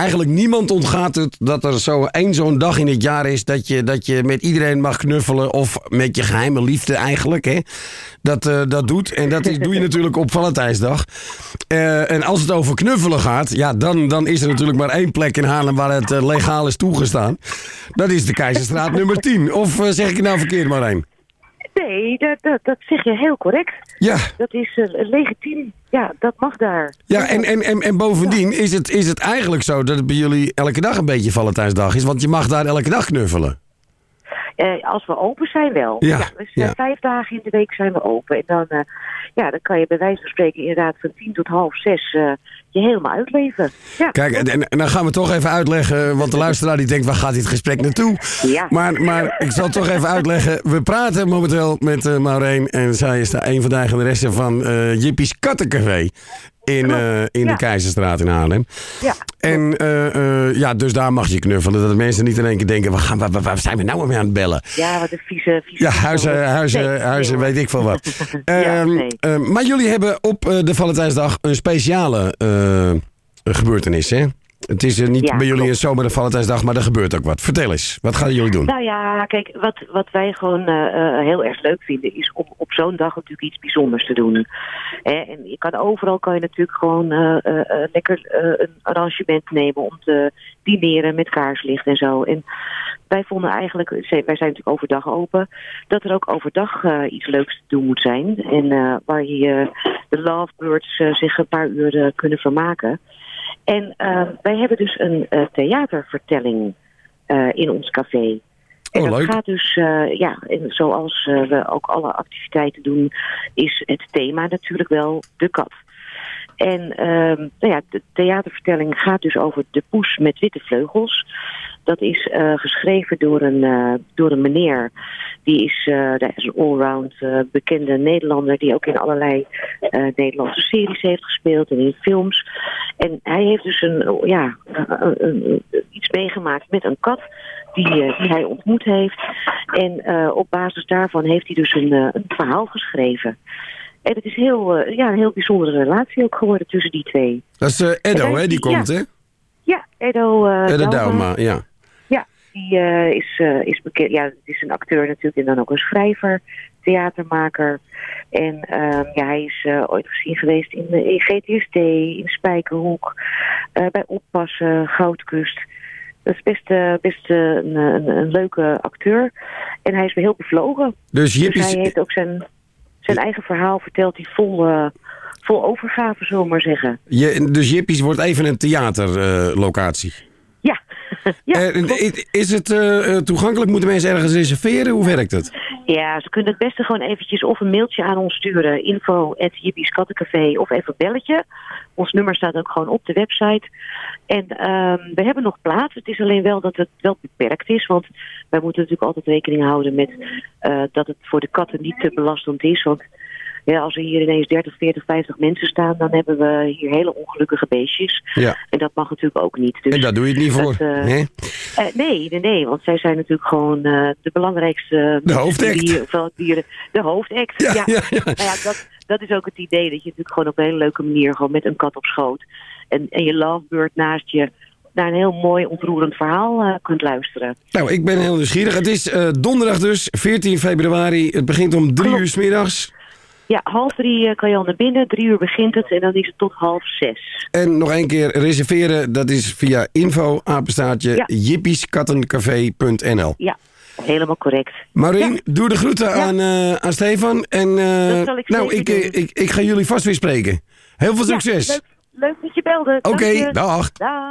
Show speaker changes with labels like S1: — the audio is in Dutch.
S1: Eigenlijk niemand ontgaat het dat er zo één zo'n dag in het jaar is dat je, dat je met iedereen mag knuffelen. Of met je geheime liefde eigenlijk. Hè? Dat, eh, dat doet. En dat is, doe je natuurlijk op Valentijnsdag. Eh, en als het over knuffelen gaat, ja, dan, dan is er natuurlijk maar één plek in Haarlem waar het eh, legaal is toegestaan. Dat is de Keizerstraat nummer 10. Of eh, zeg ik het nou verkeerd, Marijn?
S2: Nee, dat, dat, dat zeg je heel correct.
S1: Ja,
S2: Dat is eh, legitiem. Ja, dat mag daar.
S1: ja en, en, en, en bovendien is het, is het eigenlijk zo dat het bij jullie elke dag een beetje Valentijnsdag is. Want je mag daar elke dag knuffelen.
S2: Eh, als we open zijn wel.
S1: Ja,
S2: dus
S1: ja.
S2: eh, vijf dagen in de week zijn we open. En dan, eh, ja, dan kan je bij wijze van spreken inderdaad van tien tot half zes eh, je helemaal uitleven. Ja,
S1: Kijk, en, en- en dan gaan we toch even uitleggen, want de luisteraar die denkt, waar gaat dit gesprek naartoe?
S2: Ja.
S1: Maar, maar ik zal toch even uitleggen, we praten momenteel met eh Maureen en zij is de, een van de eigenaressen van eh Jippie's Kattencafé in, eh, in
S2: ja.
S1: de Keizerstraat in Haarlem.
S2: ja.
S1: En eh, eh, ja, dus daar mag je knuffelen, dat de mensen niet in één keer denken, waar, gaan, waar, waar- waar zijn we nou mee aan het bellen?
S2: ja wat een vieze... vieze
S1: Ja, huizen, huizen,
S2: Nee,
S1: huizen,
S2: nee,
S1: weet ik veel wat.
S2: Ja,
S1: Ehm,
S2: nee.
S1: ehm, maar jullie hebben op eh, de Valentijnsdag een speciale eh, gebeurtenis, hè? Het is eh, niet
S2: Ja,
S1: bij jullie
S2: klopt.
S1: een zomaar de Valentijnsdag, maar er gebeurt ook wat. Vertel eens, wat gaan jullie doen?
S2: Nou ja, kijk, wat, wat wij gewoon eh, eh, heel erg leuk vinden... is om op zo'n dag natuurlijk iets bijzonders te doen. Hè, en je kan overal kan je natuurlijk gewoon eh, eh, eh, lekker eh, een arrangement nemen... om te dineren met kaarslicht en zo. En wij vonden eigenlijk, wij zijn natuurlijk overdag open... dat er ook overdag eh, iets leuks te doen moet zijn. En eh, waar je eh, de lovebirds eh, zich een paar uur eh, kunnen vermaken... En eh, wij hebben dus een eh, theatervertelling eh, in ons café. En
S1: Oh,
S2: dat
S1: leuk.
S2: gaat dus, eh, ja, en zoals eh, we ook alle activiteiten doen, is het thema natuurlijk wel de kat. En ehm, nou ja, de theatervertelling gaat dus over de poes met witte vleugels. Dat is eh, geschreven door een, eh, door een meneer. Die is, eh, dat is een allround eh, bekende Nederlander die ook in allerlei eh, Nederlandse series heeft gespeeld en in films. En hij heeft dus een, oh, ja, een- een- een- iets meegemaakt met een kat die, eh, die hij ontmoet heeft. En eh, op basis daarvan heeft hij dus een, eh, een verhaal geschreven. En het is heel, eh, ja, een heel bijzondere relatie ook geworden tussen die twee.
S1: Dat is eh, Edo,
S2: Ja,
S1: hè, die
S2: ja.
S1: komt, hè?
S2: Ja, Edo eh,
S1: Edo
S2: Dauma,
S1: Dauma, ja.
S2: Ja, die eh, is, eh, is bekend. Ja, het is een acteur natuurlijk en dan ook een schrijver, theatermaker. En ehm, ja, hij is eh, ooit gezien geweest in, eh, in GTSD, in Spijkerhoek, eh, bij Oppassen, Goudkust. Dat is best, eh, best eh, een, een, een leuke acteur. En hij is heel bevlogen.
S1: Dus
S2: Dus
S1: Jippie's,
S2: hij heeft ook zijn, zijn eigen verhaal verteld, die vol, eh, vol overgave, zullen we maar zeggen.
S1: je, dus Jippie's wordt even een theaterlocatie.
S2: Ja, ja
S1: Eh,
S2: klopt.
S1: is het eh, eh, toegankelijk? Moeten mensen ergens reserveren? Hoe werkt het?
S2: Ja, ze kunnen het beste gewoon eventjes of een mailtje aan ons sturen. Info at Jippie's Kattencafé of even een belletje. Ons nummer staat ook gewoon op de website. En ehm, we hebben nog plaats. Het is alleen wel dat het wel beperkt is. Want wij moeten natuurlijk altijd rekening houden met eh, dat het voor de katten niet te belastend is. Want ja, als er hier ineens 30, 40, 50 mensen staan, dan hebben we hier hele ongelukkige beestjes.
S1: Ja.
S2: En dat mag natuurlijk ook niet. Dus
S1: En daar doe je het niet voor,
S2: Dat, eh,
S1: hè?
S2: eh, nee, nee, nee, want zij zijn natuurlijk gewoon eh, de belangrijkste... eh,
S1: De hoofdact.
S2: dieren- of wel dieren- de hoofdact,
S1: Ja,
S2: ja.
S1: ja, ja.
S2: Nou ja, dat, dat is ook het idee, dat je natuurlijk gewoon op een hele leuke manier... gewoon met een kat op schoot en, en je lovebird naast je... naar een heel mooi, ontroerend verhaal eh, kunt luisteren.
S1: Nou, ik ben heel nieuwsgierig. Het is eh, donderdag dus, 14 februari. Het begint om drie
S2: Klopt.
S1: uur s middags.
S2: Ja, half drie eh, kan je al naar binnen, drie uur begint het... en dan is het tot half zes.
S1: En nog één keer reserveren, dat is via info apenstaartje
S2: Ja.
S1: jippieskattencafé.nl.
S2: Ja, helemaal correct.
S1: Maureen, doe de groeten aan, eh, aan Stefan. En eh,
S2: Dat zal ik
S1: nou,
S2: zeker
S1: ik, eh,
S2: doen.
S1: ik, ik ga jullie vast weer spreken. Heel veel
S2: Ja,
S1: succes.
S2: leuk, leuk dat je belde.
S1: Oké,
S2: Dank je.
S1: dag.
S2: Dag.